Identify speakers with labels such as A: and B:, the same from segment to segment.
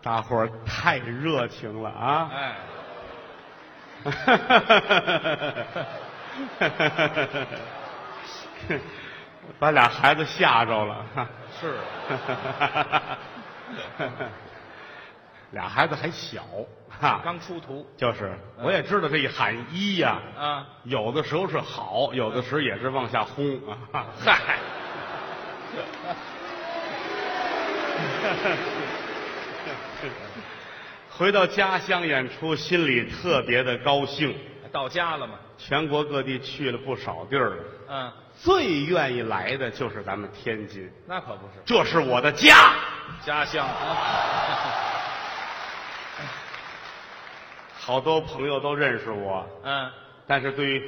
A: 大伙儿太热情了啊！
B: 哎，
A: 把俩孩子吓着了，
B: 是，
A: 俩孩子还小 哈，
B: 刚出徒
A: 就是我也知道这一喊一呀、
B: 啊，
A: 有的时候是好，有的时候也是往下轰 啊！嗨，回到家乡演出，心里特别的高兴。
B: 到家了嘛，
A: 全国各地去了不少地儿了，
B: 嗯，
A: 最愿意来的就是咱们天津，
B: 那可不是
A: 这是我的家。
B: 家乡 啊，
A: 好多朋友都认识我，
B: 嗯，
A: 但是对于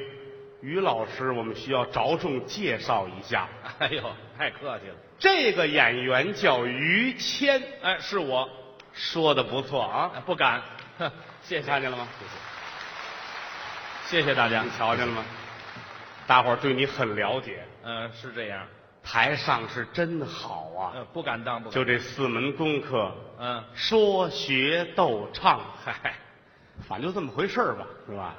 A: 于老师，我们需要着重介绍一下。
B: 哎呦，太客气了，
A: 这个演员叫于谦，
B: 哎，是我，
A: 说的不错啊。
B: 哎不敢，哼谢谢，
A: 看见了吗？
B: 谢谢大家
A: 你，瞧见了吗？大伙儿对你很了解，
B: 嗯，是这样，
A: 台上是真好啊！
B: 嗯，不敢当，不敢，
A: 就这四门功课，
B: 嗯，
A: 说学逗唱，
B: 嗨，
A: 反正就这么回事儿吧，是吧？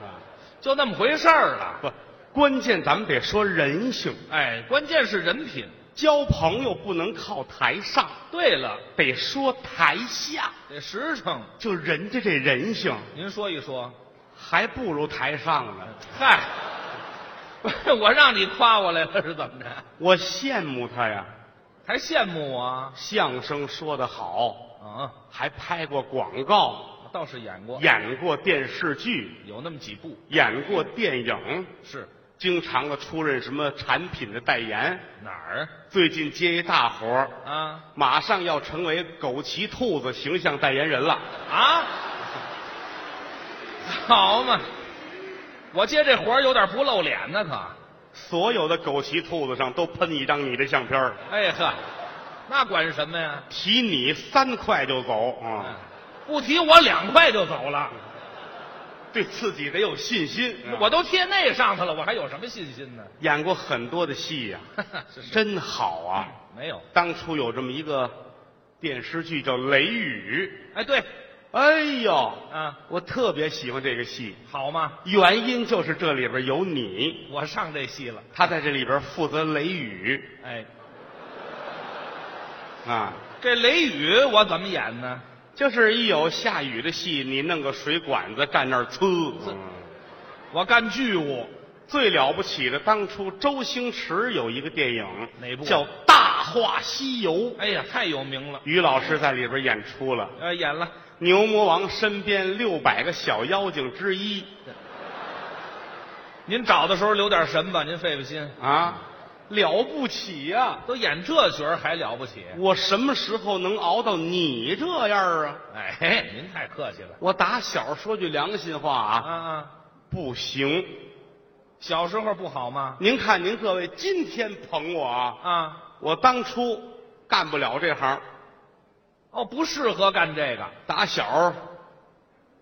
A: 啊，
B: 就那么回事儿了，
A: 不，关键咱们得说人性，
B: 哎，关键是人品。
A: 交朋友不能靠台上，
B: 对了，
A: 得说台下。
B: 得实诚，
A: 就人家这人性，
B: 您说一说，
A: 还不如台上呢。
B: 嗨， 我让你夸我来了是怎么着？
A: 我羡慕他呀，
B: 还羡慕我啊？
A: 相声说得好，
B: 啊，
A: 还拍过广告，
B: 我倒是演过，
A: 演过电视剧，
B: 有那么几部
A: 演过电影，
B: 是
A: 经常的出任什么产品的代言。
B: 哪儿
A: 最近接一大活儿，
B: 啊？
A: 马上要成为枸杞兔子形象代言人了。
B: 啊， 好嘛，我接这活儿有点不露脸呢，可，
A: 所有的枸杞兔子上都喷一张你的相片儿
B: 哎呵，那管什么呀？
A: 提你三块就走
B: 嗯
A: 啊、
B: 不提我两块就走了，
A: 对自己得有信心。啊
B: 我都贴那上头了，我还有什么信心呢？
A: 演过很多的戏呀、
B: 是是
A: 真好啊！
B: 没有，
A: 当初有这么一个电视剧叫《雷雨
B: 哎对，》，
A: 哎呦，
B: 啊，
A: 我特别喜欢这个戏，
B: 好嘛，
A: 原因就是这里边有你，
B: 我上这戏了，
A: 他在这里边负责雷雨
B: 哎，
A: 啊，
B: 这雷雨我怎么演呢？
A: 就是一有下雨的戏，你弄个水管子站那儿呲。嗯
B: 我干剧务，
A: 最了不起的，当初周星驰有一个电影，
B: 哪部啊
A: 叫《大话西游》，
B: 哎呀，太有名了，
A: 于老师在里边演出了。
B: 呃，演了，
A: 牛魔王身边六百个小妖精之一
B: 您找的时候留点神吧，您费费心，
A: 啊，了不起呀、
B: 都演这角儿还了不起？
A: 我什么时候能熬到你这样啊？
B: 哎，您太客气了
A: 我打小说句良心话
B: 啊
A: 啊，
B: 啊！
A: 不行。
B: 小时候不好吗？
A: 您看，您各位今天捧我啊，
B: 啊，
A: 我当初干不了这行，
B: 哦，不适合干这个
A: 打小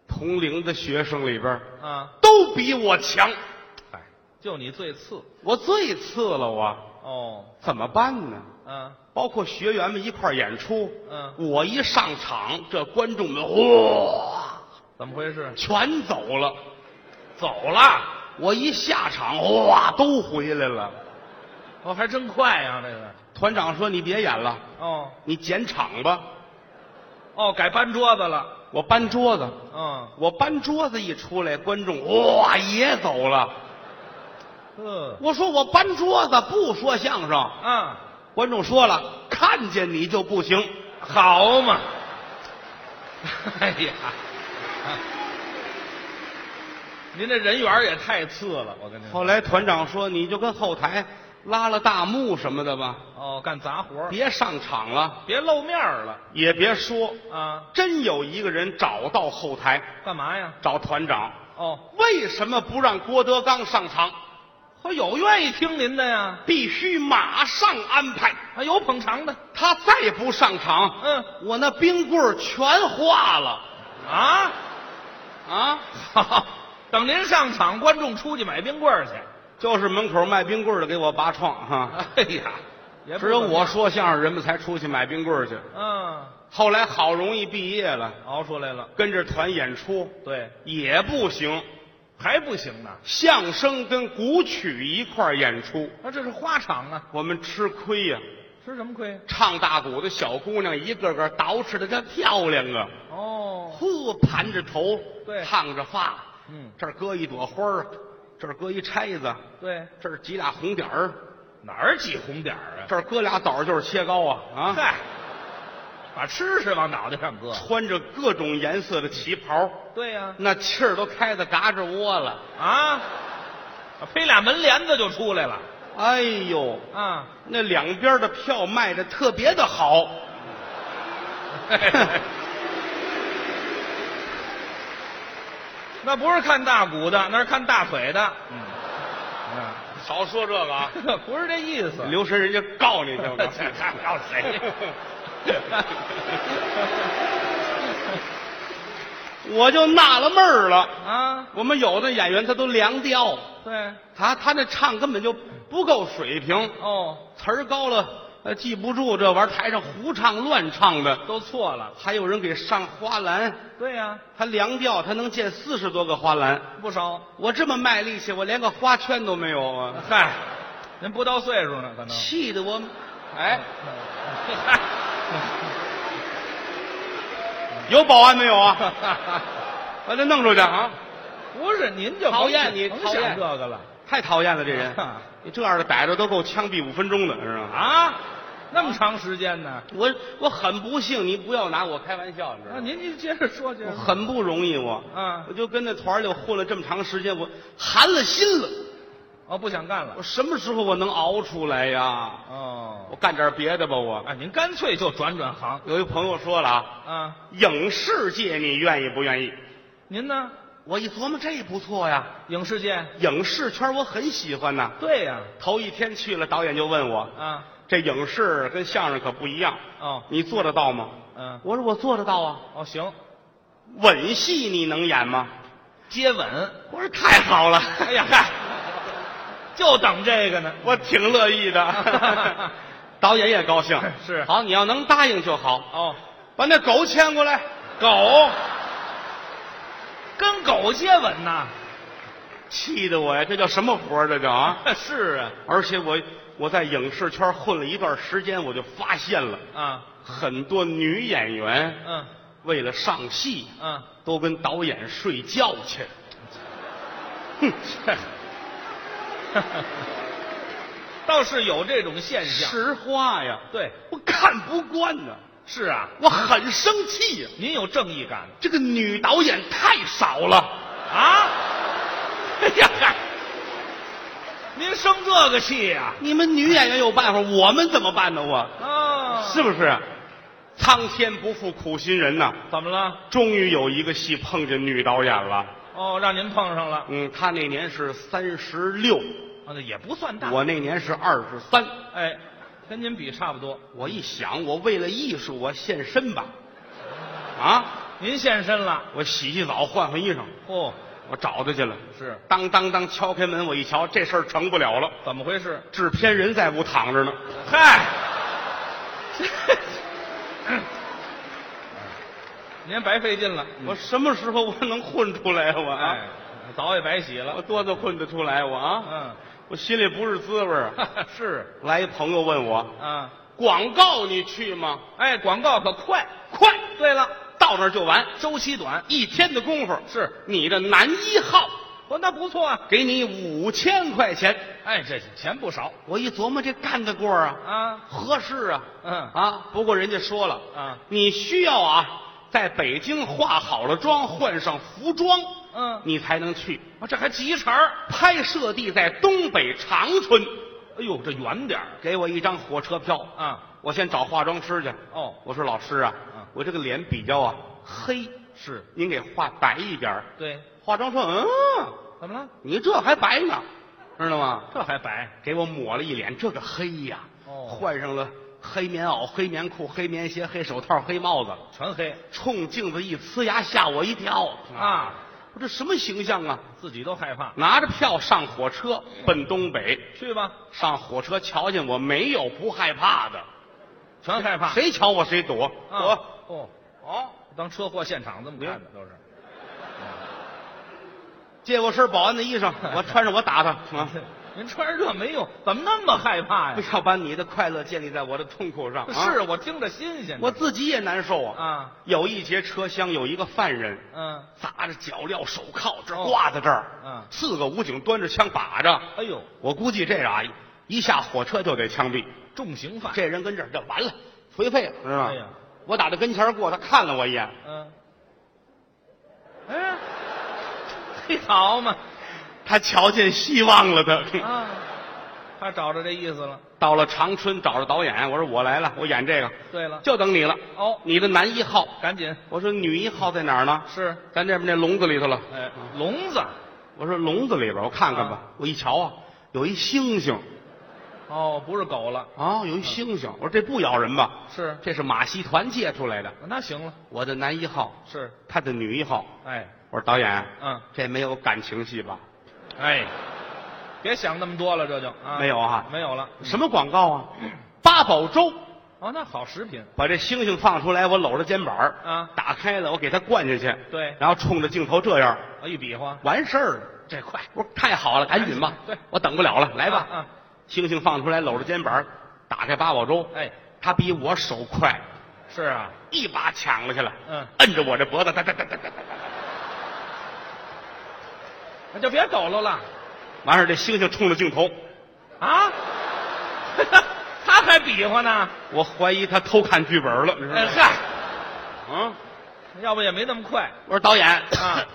A: 同龄的学生里边
B: 啊，
A: 都比我强，
B: 哎，就你最次
A: 我最次了我，
B: 哦，
A: 怎么办呢？
B: 嗯、
A: 包括学员们一块儿演出，
B: 嗯
A: 我一上场，这观众们哇
B: 怎么回事？
A: 全走了，
B: 走了，
A: 我一下场哇都回来了。
B: 哦，还真快呀、这个
A: 团长说：“你别演了，
B: 哦
A: 你剪场吧。
B: 哦，改搬桌子了，”
A: 我搬桌子，
B: 嗯
A: 我搬桌子一出来，观众哇也走了。
B: 嗯
A: 我说我搬桌子不说相声，
B: 啊。
A: 观众说了，看见你就不行。
B: 好嘛！哎呀，您这人缘也太次了，我跟您说。
A: 后来团长说：“你就跟后台拉拉大幕什么的吧，
B: 哦，干杂活儿别
A: 别上场了，
B: 别露面儿了
A: 也别说。”
B: 啊！
A: 真有一个人找到后台
B: 干嘛呀？
A: 找团长，
B: 哦，
A: 为什么不让郭德纲上场？
B: 我有愿意听您的呀，
A: 必须马上安排，
B: 啊，有捧场的，
A: 他再不上场，
B: 嗯
A: 我那冰棍儿全化了
B: 啊，
A: 啊！
B: 好，等您上场，观众出去买冰棍儿去。
A: 就是门口卖冰棍儿的给我拔创哈、
B: 哎呀，也不
A: 只有
B: 怎么
A: 我
B: 样
A: 说相声人们才出去买冰棍儿去。
B: 嗯，
A: 后来好容易毕业了，
B: 熬出来了，
A: 跟着团演出
B: 对，
A: 也不行，
B: 还不行呢，
A: 相声跟古曲一块儿演出，
B: 那这是花场啊，
A: 我们吃亏呀、
B: 吃什么亏？
A: 唱大鼓的小姑娘一个个捯饬的她漂亮啊，
B: 哦，
A: 呵，盘着头，
B: 对
A: 烫着发，
B: 嗯
A: 这儿搁一朵花儿，这儿搁一钗子，
B: 对，
A: 这儿几俩红点儿，
B: 哪儿挤红点儿啊？
A: 这儿搁俩枣儿就是切糕啊啊！
B: 嗨，把吃食往脑袋上搁。
A: 穿着各种颜色的旗袍，
B: 对呀、
A: 那气儿都开得嘎吱窝了。
B: 啊，配俩门帘子就出来了
A: 哎呦，
B: 啊！
A: 那两边的票卖的特别的好，
B: 那不是看大鼓的，那是看大腿的。嗯，
A: 少说这个啊，
B: 不是这意思。
A: 留神人家告你去。 我告诉你
B: 看到谁？
A: 我就纳了闷儿了，
B: 啊，
A: 我们有的演员他都凉调，
B: 对，
A: 他他那唱根本就不够水平，
B: 哦，
A: 词儿高了呃记不住，这玩意儿台上胡唱乱唱的，
B: 都错了。
A: 还有人给上花篮，
B: 对呀、
A: 他凉调他能见四十多个花篮，
B: 不少。
A: 我这么卖力气，我连个花圈都没有啊，
B: 嗨，您不到岁数呢，可能。
A: 气得我，哎， 有保安没有啊？把他弄出去啊！
B: 不是您就甭
A: 讨厌你
B: 甭
A: 讨厌
B: 想这个了，
A: 太讨厌了，这人你这样的逮着都够枪毙五分钟的，是吧？
B: 啊！那么长时间呢？
A: 我我很不幸，你不要拿我开玩笑，你知道
B: 那
A: 吗？
B: 您就接着说，接
A: 我
B: 着说。
A: 很不容易，我，
B: 嗯
A: 我就跟那团儿里混了这么长时间，我寒了心了。
B: 哦，不想干
A: 我
B: 了。
A: 什么时候我能熬出来呀？我
B: 哦，
A: 干点别的吧，我。
B: 哎，您干脆就转转行
A: 有一朋友说了啊，
B: 啊！
A: 影视界你愿意不愿意？
B: 您呢？
A: 我一琢磨，这不错呀，
B: 影视界？
A: 影视圈我很喜欢呐。
B: 对呀、
A: 头一天去了，导演就问我
B: 啊，，
A: 这影视跟相声可不一样，
B: 哦，
A: 你做得到吗？
B: 嗯、
A: 我说我做得到啊。
B: 哦，行，
A: 吻戏你能演吗？
B: 接吻。
A: 我说太好了，
B: 哎呀，嗨，就等这个呢。
A: 我挺乐意的。 导演也高 兴，
B: 是
A: 好，你要能答应就好。
B: 哦，
A: 把那狗牵过来，
B: 狗跟狗接吻呐？
A: 气得我呀，这叫什么活儿？这叫啊！
B: 是啊，
A: 而且我我在影视圈混了一段时间，我就发现了
B: 啊，
A: 很多女演员
B: 嗯
A: 为了上戏，
B: 嗯，
A: 都跟导演睡觉去。哼，
B: 倒是有这种现象。，
A: 实话呀，
B: 对，
A: 我看不惯呢，
B: 是啊，
A: 我很生气呀。
B: 您有正义感
A: 这个女导演太少了，
B: 啊！
A: 哎呀，嗨
B: 您生这个气呀、
A: 你们女演员有办法，我们怎么办呢？我
B: 啊？哦
A: 是不是？苍天不负苦心人呐！
B: 怎么了？
A: 终于有一个戏碰见女导演了。
B: 哦，让您碰上了，
A: 嗯，她那年是三十六，
B: 啊，那也不算大。
A: 我那年是二十三。
B: 哎，跟您比差不多。
A: 我一想，我为了艺术，我献身吧。啊，
B: 您现身了，
A: 我洗洗澡，换换衣裳，
B: 哦，
A: 我找她去了。
B: 是
A: 当当当，敲开门，我一瞧，这事儿成不了了。
B: 怎么回事？
A: 制片人在屋躺着呢。
B: 嗨，您白费劲了。
A: 我什么时候我能混出来啊？我啊，
B: 嗯哎，澡也白洗
A: 我
B: 了。
A: 多多混得出来我啊，
B: 嗯，
A: 我心里不是滋味儿啊。
B: 是
A: 来一朋友问我，
B: 啊，
A: 广告你去吗？
B: 哎，广告可快。
A: 快，
B: 对了，
A: 到那儿就完，
B: 周期短，
A: 一天的功夫。
B: 是
A: 你的男一号
B: 哦，那不错啊。
A: 给你五千块钱。
B: 哎，这钱不少
A: 我一琢磨，这干得过啊，
B: 啊。
A: 合适啊，
B: 嗯
A: 啊。不过人家说了，
B: 啊，
A: 你需要啊，在北京化好了妆，换上服装，
B: 嗯，
A: 你才能去。
B: 啊这还急茬儿。
A: 拍摄地在东北长春，
B: 哎呦，这远点儿
A: 给我一张火车票，
B: 啊。
A: 我先找化妆师去。
B: 哦，
A: 我说老师啊
B: 嗯，
A: 我这个脸比较啊黑，
B: 是
A: 您给画白一点儿。
B: 对，
A: 化妆说，嗯，
B: 怎么了？
A: 你这还白呢，知道吗？
B: 这还白？
A: 给我抹了一脸这个黑呀、
B: 哦
A: 换上了黑棉袄、黑棉裤、黑棉鞋、黑手套、黑帽子，
B: 全黑
A: 冲镜子一呲牙，吓我一跳！
B: 啊！
A: 我这什么形象啊？
B: 自己都害怕。
A: 拿着票上火车奔东北，
B: 去吧，
A: 上火车瞧见我没有不害怕的，
B: 全害怕。？
A: 谁瞧我谁躲。
B: 啊
A: 我
B: 哦，
A: 哦，
B: 当车祸现场这么看的都是。
A: 借我身保安的衣 裳，我穿上我打他。啊
B: 您穿着这没用，怎么那么害怕
A: 不
B: 呀？
A: 要把你的快乐建立在我的痛苦上。啊
B: 是我听着新鲜呢。
A: 我自己也难受啊。
B: 啊，
A: 有一节车厢有一个犯人，
B: 嗯，
A: 砸着脚镣、手铐，这
B: 哦
A: 挂在这儿。
B: 嗯
A: 四个武警端着枪把着。
B: 哎呦，
A: 我估计这人啊，一下火车就得枪毙。
B: 重刑犯。
A: 这人跟这儿，这完了，颓废了，知道吗？
B: 哎呀
A: 我打他跟前儿过，他看了我一眼，
B: 嗯，哎，嘿，好嘛，
A: 他瞧见希望了他。
B: 啊，他找着这意思了。
A: 到了长春，找着导演，我说我来了，我演这个，
B: 对了，
A: 就等你了。
B: 哦，
A: 你的男一号，
B: 赶紧
A: 我说女一号在哪儿呢？
B: 是，
A: 咱这边那笼子里头了。
B: 哎，笼子，
A: 我说笼子里边，我看看吧。
B: 啊
A: 我一瞧啊，有一猩猩
B: 哦，不是狗了，
A: 啊，
B: 嗯
A: 有一猩猩。我说这不咬人吧？
B: 是，
A: 这是马戏团借出来的。
B: 那行了，
A: 我的男一号，
B: 是，
A: 他的女一号。
B: 哎，
A: 我说导演，
B: 嗯，
A: 这没有感情戏吧？
B: 哎，别想那么多了，这就啊
A: 没有啊
B: 没有了。
A: 什么广告啊？八宝粥，
B: 哦，那好食品
A: 把这猩猩放出来，我搂着肩膀儿
B: 啊，
A: 打开了，我给他灌下去，
B: 对，
A: 然后冲着镜头这样，
B: 啊，一比划，
A: 完事儿了。
B: 这快，
A: 我说太好了，赶紧吧，
B: 对
A: 我等不了了，来吧。
B: 啊，
A: 猩猩放出来，搂着肩膀儿，打开八宝粥，
B: 哎，
A: 他比我手快，
B: 是啊，
A: 一把抢了下来，
B: 嗯，
A: 摁着我这脖子，哒哒哒哒哒哒。
B: 那就别抖搂了
A: 完事儿，这猩猩冲着镜头，
B: 啊， 他还比划呢，
A: 我怀疑他偷看剧本了，你知道
B: 哎
A: 吗？
B: 嗨，
A: 嗯，
B: 要不也没那么快
A: 我说导演，
B: 啊，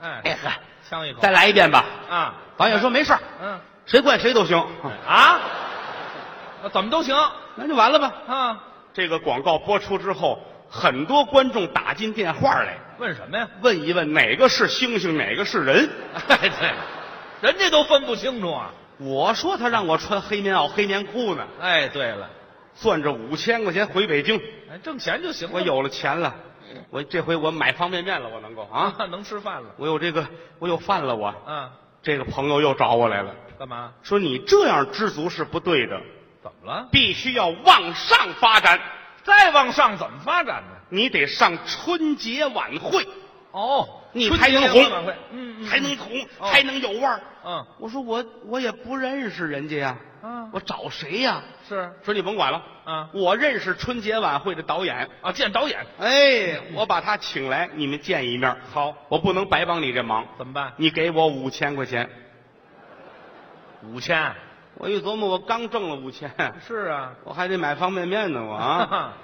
B: 哎
A: 哎嗨，
B: 呛一口
A: 再来一遍吧。
B: 啊，
A: 导演说没事儿，
B: 嗯
A: 谁灌谁都行，
B: 啊，那怎么都行
A: 那就完了吧。
B: 啊？
A: 这个广告播出之后，很多观众打进电话来
B: 问什么呀？
A: 问一问哪个是猩猩，哪个是人。
B: 哎，对，人家都分不清楚啊。
A: 我说他让我穿黑棉袄、黑棉裤呢，
B: 哎，对了，
A: 攥着五千块钱回北京。
B: 哎，挣钱就行了。
A: 我有了钱了，
B: 嗯
A: 我这回我买方便面了，我能够啊，
B: 啊，能吃饭了
A: 我有这个，我有饭了我。
B: 啊？
A: 这个朋友又找我来了，
B: 干嘛？
A: 说你这样知足是不对的，
B: 怎么了？
A: 必须要往上发展，
B: 再往上怎么发展呢？
A: 你得上春节晚会，
B: 哦，
A: 你
B: 春
A: 才
B: 节
A: 能红
B: 晚会，嗯，嗯
A: 才能红，
B: 哦
A: 才能有味儿。
B: 嗯
A: 我说我我也不认识人家呀，
B: 啊，
A: 我找谁呀？
B: 是
A: 说你甭管了，
B: 啊
A: 我认识春节晚会的导演，
B: 啊，见导演
A: 哎，我把他请来，你们见一面。
B: 好，
A: 我不能白帮你这忙，
B: 怎么办？
A: 你给我五千块钱。
B: 五千？
A: 我一琢磨，我刚挣了五千，
B: 是啊，
A: 我还得买方便面呢，我 啊，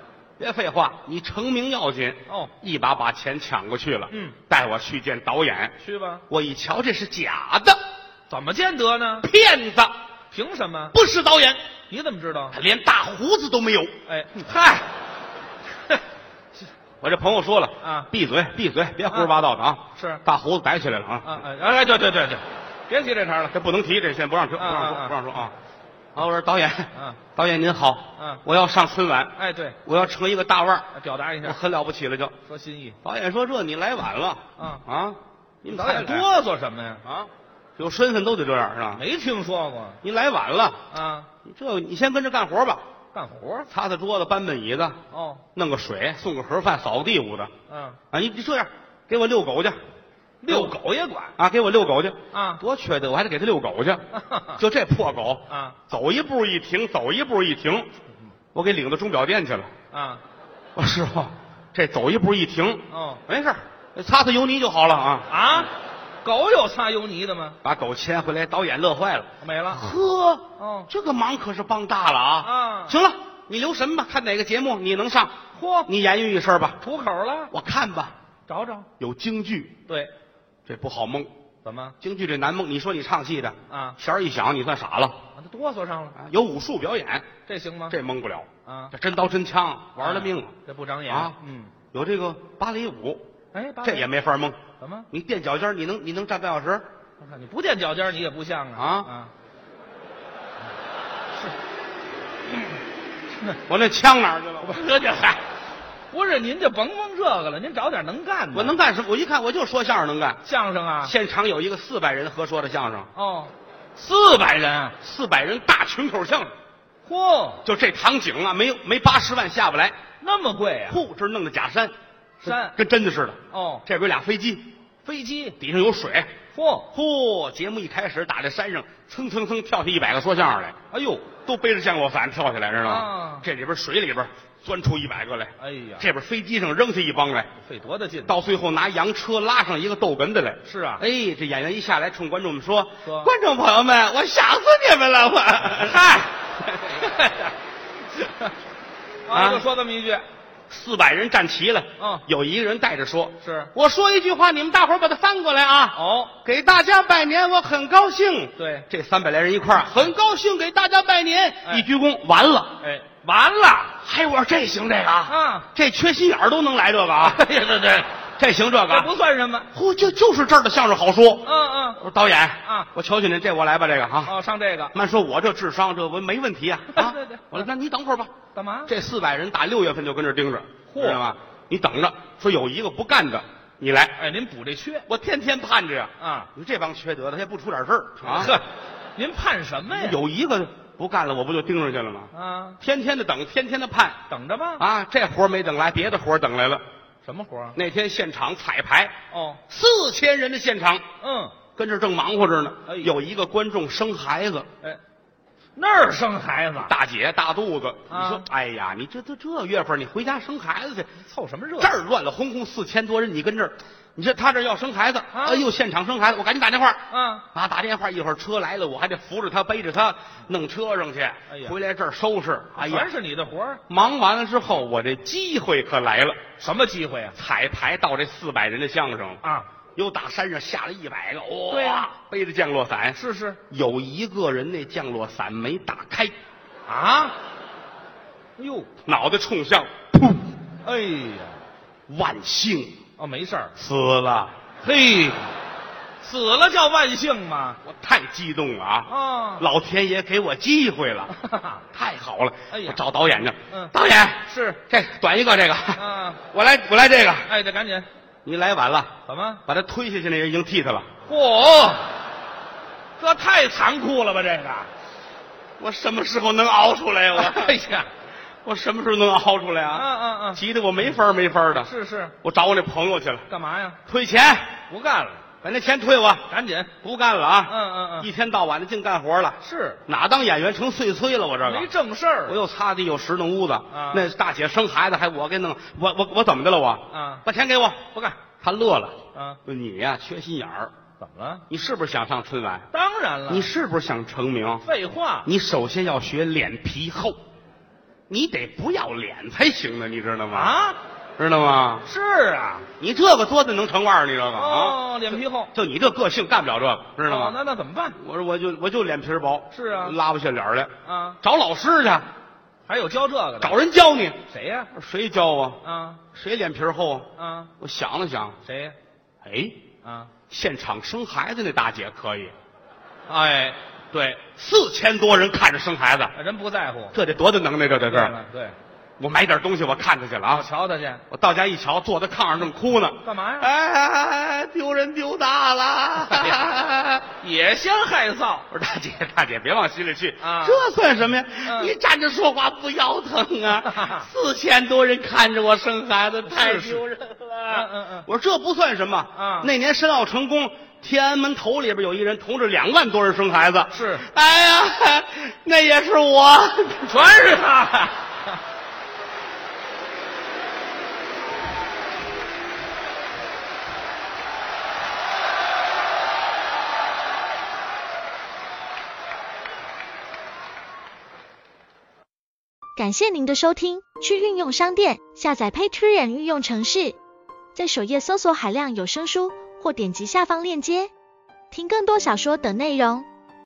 A: 别废话，你成名要紧。
B: 哦，
A: 一把把钱抢过去了，
B: 嗯，
A: 带我去见导演。
B: 去吧。
A: 我一瞧，这是假的，
B: 怎么见得呢？
A: 骗子，
B: 凭什么？
A: 不是导演，
B: 你怎么知道
A: 他？连大胡子都没有。
B: 哎，
A: 嗨，我这朋友说了
B: 啊
A: 闭嘴，闭嘴，别胡说八道的啊！
B: 是
A: 大胡子逮起来了啊！
B: 啊哎哎，对对对对，别提这茬了。
A: 这不能提，这先不让说，不
B: 啊
A: 让
B: 啊
A: 说，
B: 啊
A: 不让说啊！啊，我说导演，
B: 嗯，
A: 导演您好，
B: 嗯
A: 我要上春晚，
B: 哎，对，啊
A: 我要成一个大腕儿，
B: 表达一
A: 我
B: 下，
A: 很了不起了就。
B: 说心意。
A: 导演说这你来晚了
B: 啊
A: 啊！你
B: 你
A: 们
B: 导
A: 才
B: 演
A: 来
B: 哆嗦什么呀？
A: 啊，有身份都得这样是吧？
B: 没听说过
A: 你来晚了，
B: 啊，
A: 你这你先跟着干活吧，
B: 干活
A: 擦擦桌子，搬搬椅子，
B: 哦，
A: 弄个水，送个盒饭，扫个地捂的
B: 嗯，
A: 啊！你你这样，给我遛狗去
B: 遛狗也管
A: 啊！给我遛狗去，
B: 啊
A: 多缺德！我还得给他遛狗去，就这破狗，
B: 啊
A: 走一步一停，走一步一停，我给领到钟表店去了。
B: 啊
A: 我说师傅，这走一步一停，
B: 哦
A: 没事儿，擦擦油泥就好了啊！
B: 啊，狗有擦油泥的吗？
A: 把狗牵回来，导演乐坏了。
B: 没了
A: 呵，
B: 哦
A: 这个忙可是帮大了啊！
B: 啊，
A: 行了，你留神吧，看哪个节目你能上，
B: 嚯，
A: 你言语一声吧。
B: 吐口了，
A: 我看吧，
B: 找找。
A: 有京剧，
B: 对，
A: 这不好蒙，
B: 怎么
A: 京剧这难蒙。你说你唱戏的，
B: 啊？
A: 弦儿一响，你算傻了。
B: 啊，他哆嗦上了，
A: 啊有武术表演，
B: 这行吗？
A: 这蒙不了，
B: 啊，
A: 这真刀真枪玩了命了。
B: 这不长眼
A: 啊
B: 嗯，
A: 有这个芭蕾舞，
B: 哎，八
A: 这
B: 百
A: 也没法蒙。
B: 怎么？
A: 你垫脚尖儿，你能你能站半小时？
B: 我看你不垫脚尖儿，你也不像啊
A: 啊
B: 啊！啊
A: 我那枪哪儿去了？
B: 这这嗨，不是您就甭蒙这个了，您找点能干的。
A: 我能干什么？我一看我就说相声能干。
B: 相声啊？
A: 现场有一个四百人合说的相声，
B: 哦，四百人啊！
A: 四百人大群口相声，
B: 嚯，
A: 就这场景啊，没有没八十万下不来。
B: 那么贵啊！
A: 嚯，这儿弄的假山，
B: 山
A: 跟真的似的。
B: 哦，
A: 这边有俩飞机，
B: 飞机，
A: 底上有水。
B: 嚯，
A: 嚯，节目一开始打在山上，蹭蹭蹭跳下一百个说相声来，
B: 哎呦，
A: 都背着降落伞跳下来，知道吗
B: 啊？
A: 这里边水里边钻出一百个来，
B: 哎呀，
A: 这边飞机上扔下一帮来，
B: 费多大劲呢？
A: 到最后拿洋车拉上一个逗哏的来。
B: 是啊，
A: 哎，这演员一下来，冲观众们说：“
B: 说
A: 观众朋友们，我想死你们了！” 我 嗨，
B: 啊，
A: 啊
B: 就说这么一句，
A: 四百人站齐了，
B: 嗯
A: 有一个人带着说：“
B: 是
A: 我说一句话，你们大伙儿把它翻过来啊！
B: 哦，
A: 给大家拜年，我很高兴。”
B: 对，
A: 这三百来人一块儿，啊很高兴给大家拜年，
B: 哎
A: 一鞠躬，完了，
B: 哎，
A: 完了！嘿，我说这行这个啊，
B: 啊，
A: 这缺心眼儿都能来这个啊！
B: 哎呀对对，
A: 这行这个
B: 这
A: 啊
B: 不，算什么，
A: 嚯，就就是这儿的相声好说。
B: 嗯嗯
A: 我，说导演
B: 啊
A: 我求求您，这我来吧，这个哈。
B: 哦，上这个
A: 慢说，我这智商，这我没问题啊啊
B: 对对！
A: 我说那你等会儿吧，
B: 干嘛？
A: 这四百人打六月份就跟这儿盯着，
B: 嚯
A: 知道吗？你等着，说有一个不干的，你来，
B: 哎，您补这缺
A: 我天天盼着呀。
B: 啊，
A: 你这帮缺德的，也不出点事儿啊！
B: 呵，您盼什么呀？
A: 有一个不干了，我不就盯上去了吗？
B: 啊，
A: 天天的等，天天的盼
B: 等着吧。
A: 啊！这活儿没等来，别的活儿等来了。
B: 什么活儿？
A: 那天现场彩排，
B: 哦，
A: 四千人的现场，
B: 嗯，
A: 跟这儿正忙活着呢
B: 哎。
A: 有一个观众生孩子，
B: 哎，那儿生孩子，
A: 大姐大肚子，你
B: 啊
A: 说，哎呀，你这这这月份你回家生孩子去，
B: 凑什么热
A: 这儿乱了哄哄四千多人，你跟这儿，你这他这儿要生孩子，
B: 啊
A: 哎呦，现场生孩子，我赶紧打电话
B: 啊？
A: 啊，打电话，一会儿车来了，我还得扶着他，背着他弄车上去，
B: 哎呀啊
A: 回来这儿收拾，哎呀
B: 全，是你的活儿，
A: 忙完了之后，我这机会可来了，
B: 什么机会啊？
A: 彩排到这四百人的相声，
B: 啊，
A: 又打山上下了一百个，哇，
B: 对呀
A: 背着降落伞，
B: 是是
A: 有一个人那降落伞没打开，
B: 啊，哎呦，
A: 脑袋冲向，
B: 哎呀，
A: 万幸
B: 哦，没事儿，
A: 死了，
B: 嘿，死了叫万幸吗？
A: 我太激动了啊！
B: 啊，
A: 老天爷给我机会 了，太好了！
B: 哎呀
A: 我找导演去。
B: 嗯
A: 导演，
B: 是
A: 这短一个这个，
B: 啊，
A: 我来我来这个。
B: 哎，得赶紧，
A: 你来晚了，
B: 怎么？
A: 把他推下去那人已经替他了。
B: 嚯，这太残酷了吧？这个，
A: 我什么时候能熬出来呀？
B: 哎
A: 我
B: 呀，
A: 我什么时候能熬出来
B: 嗯
A: 啊？
B: 嗯嗯，
A: 急得我没法儿没法儿的。
B: 是是，
A: 我找我那朋友去了，
B: 干嘛呀？
A: 退钱，
B: 不干了，
A: 把那钱退我，
B: 赶紧，
A: 不干了
B: 嗯
A: 啊！
B: 嗯
A: 一
B: 嗯，
A: 天到晚的净干活了，
B: 是
A: 哪当演员成碎催了？我这个
B: 没正事儿
A: 我又擦地又拾弄屋子，
B: 啊
A: 那大姐生孩子还我给弄，我我我怎么的了我？
B: 啊，
A: 把钱给我。
B: 不干，
A: 他乐了，
B: 啊，
A: 你呀、缺心眼儿，
B: 怎么了？
A: 你是不是想上春晚？
B: 当然了，
A: 你是不是想成名？
B: 废话，
A: 你首先要学脸皮厚，你得不要脸才行呢，你知道吗？，
B: 啊，
A: 知道吗？
B: 是啊，
A: 你这个多的能成腕儿，你这个啊，
B: 哦，脸皮厚，
A: 就你这个性干不了这个，知道
B: 哦
A: 吗？
B: 那那怎么办
A: 我说我就我就脸皮儿薄，
B: 是啊
A: 拉不下脸儿来，
B: 啊？
A: 找老师去，
B: 还有教这个的，
A: 找人教你，
B: 谁呀？
A: 谁教啊？
B: 啊
A: 谁脸皮儿厚啊？
B: 啊，
A: 我想了想，
B: 谁呀？
A: 哎，
B: 啊，
A: 现场生孩子那大姐可以，
B: 哎，
A: 对，四千多人看着生孩子，
B: 人不在乎，
A: 这得多大能耐，这得
B: 对
A: 是。
B: 了对，
A: 我买点东西，我看她去了
B: 我
A: 啊。
B: 瞧他去，
A: 我到家一瞧，坐在炕上正哭呢，
B: 干嘛呀？
A: 哎，丢人丢大
B: 哎
A: 了
B: 呀。也嫌害臊，
A: 我说大姐，大姐，别往心里去
B: 啊
A: 这算什么呀？
B: 嗯！
A: 你站着说话不腰疼啊 四千多人看着我生孩子，太
B: 是是
A: 丢人了。
B: 嗯嗯嗯
A: 我说这不算什么
B: 啊
A: 那年申奥成功，天安门头里边有一人同志两万多人生孩子，
B: 是
A: 哎呀，那也是我。
B: 全是他。
C: 感谢您的收听，去应用商店下载 Patreon 应用程市，在首页搜索海量有声书，或点击下方链接听更多小说等内容。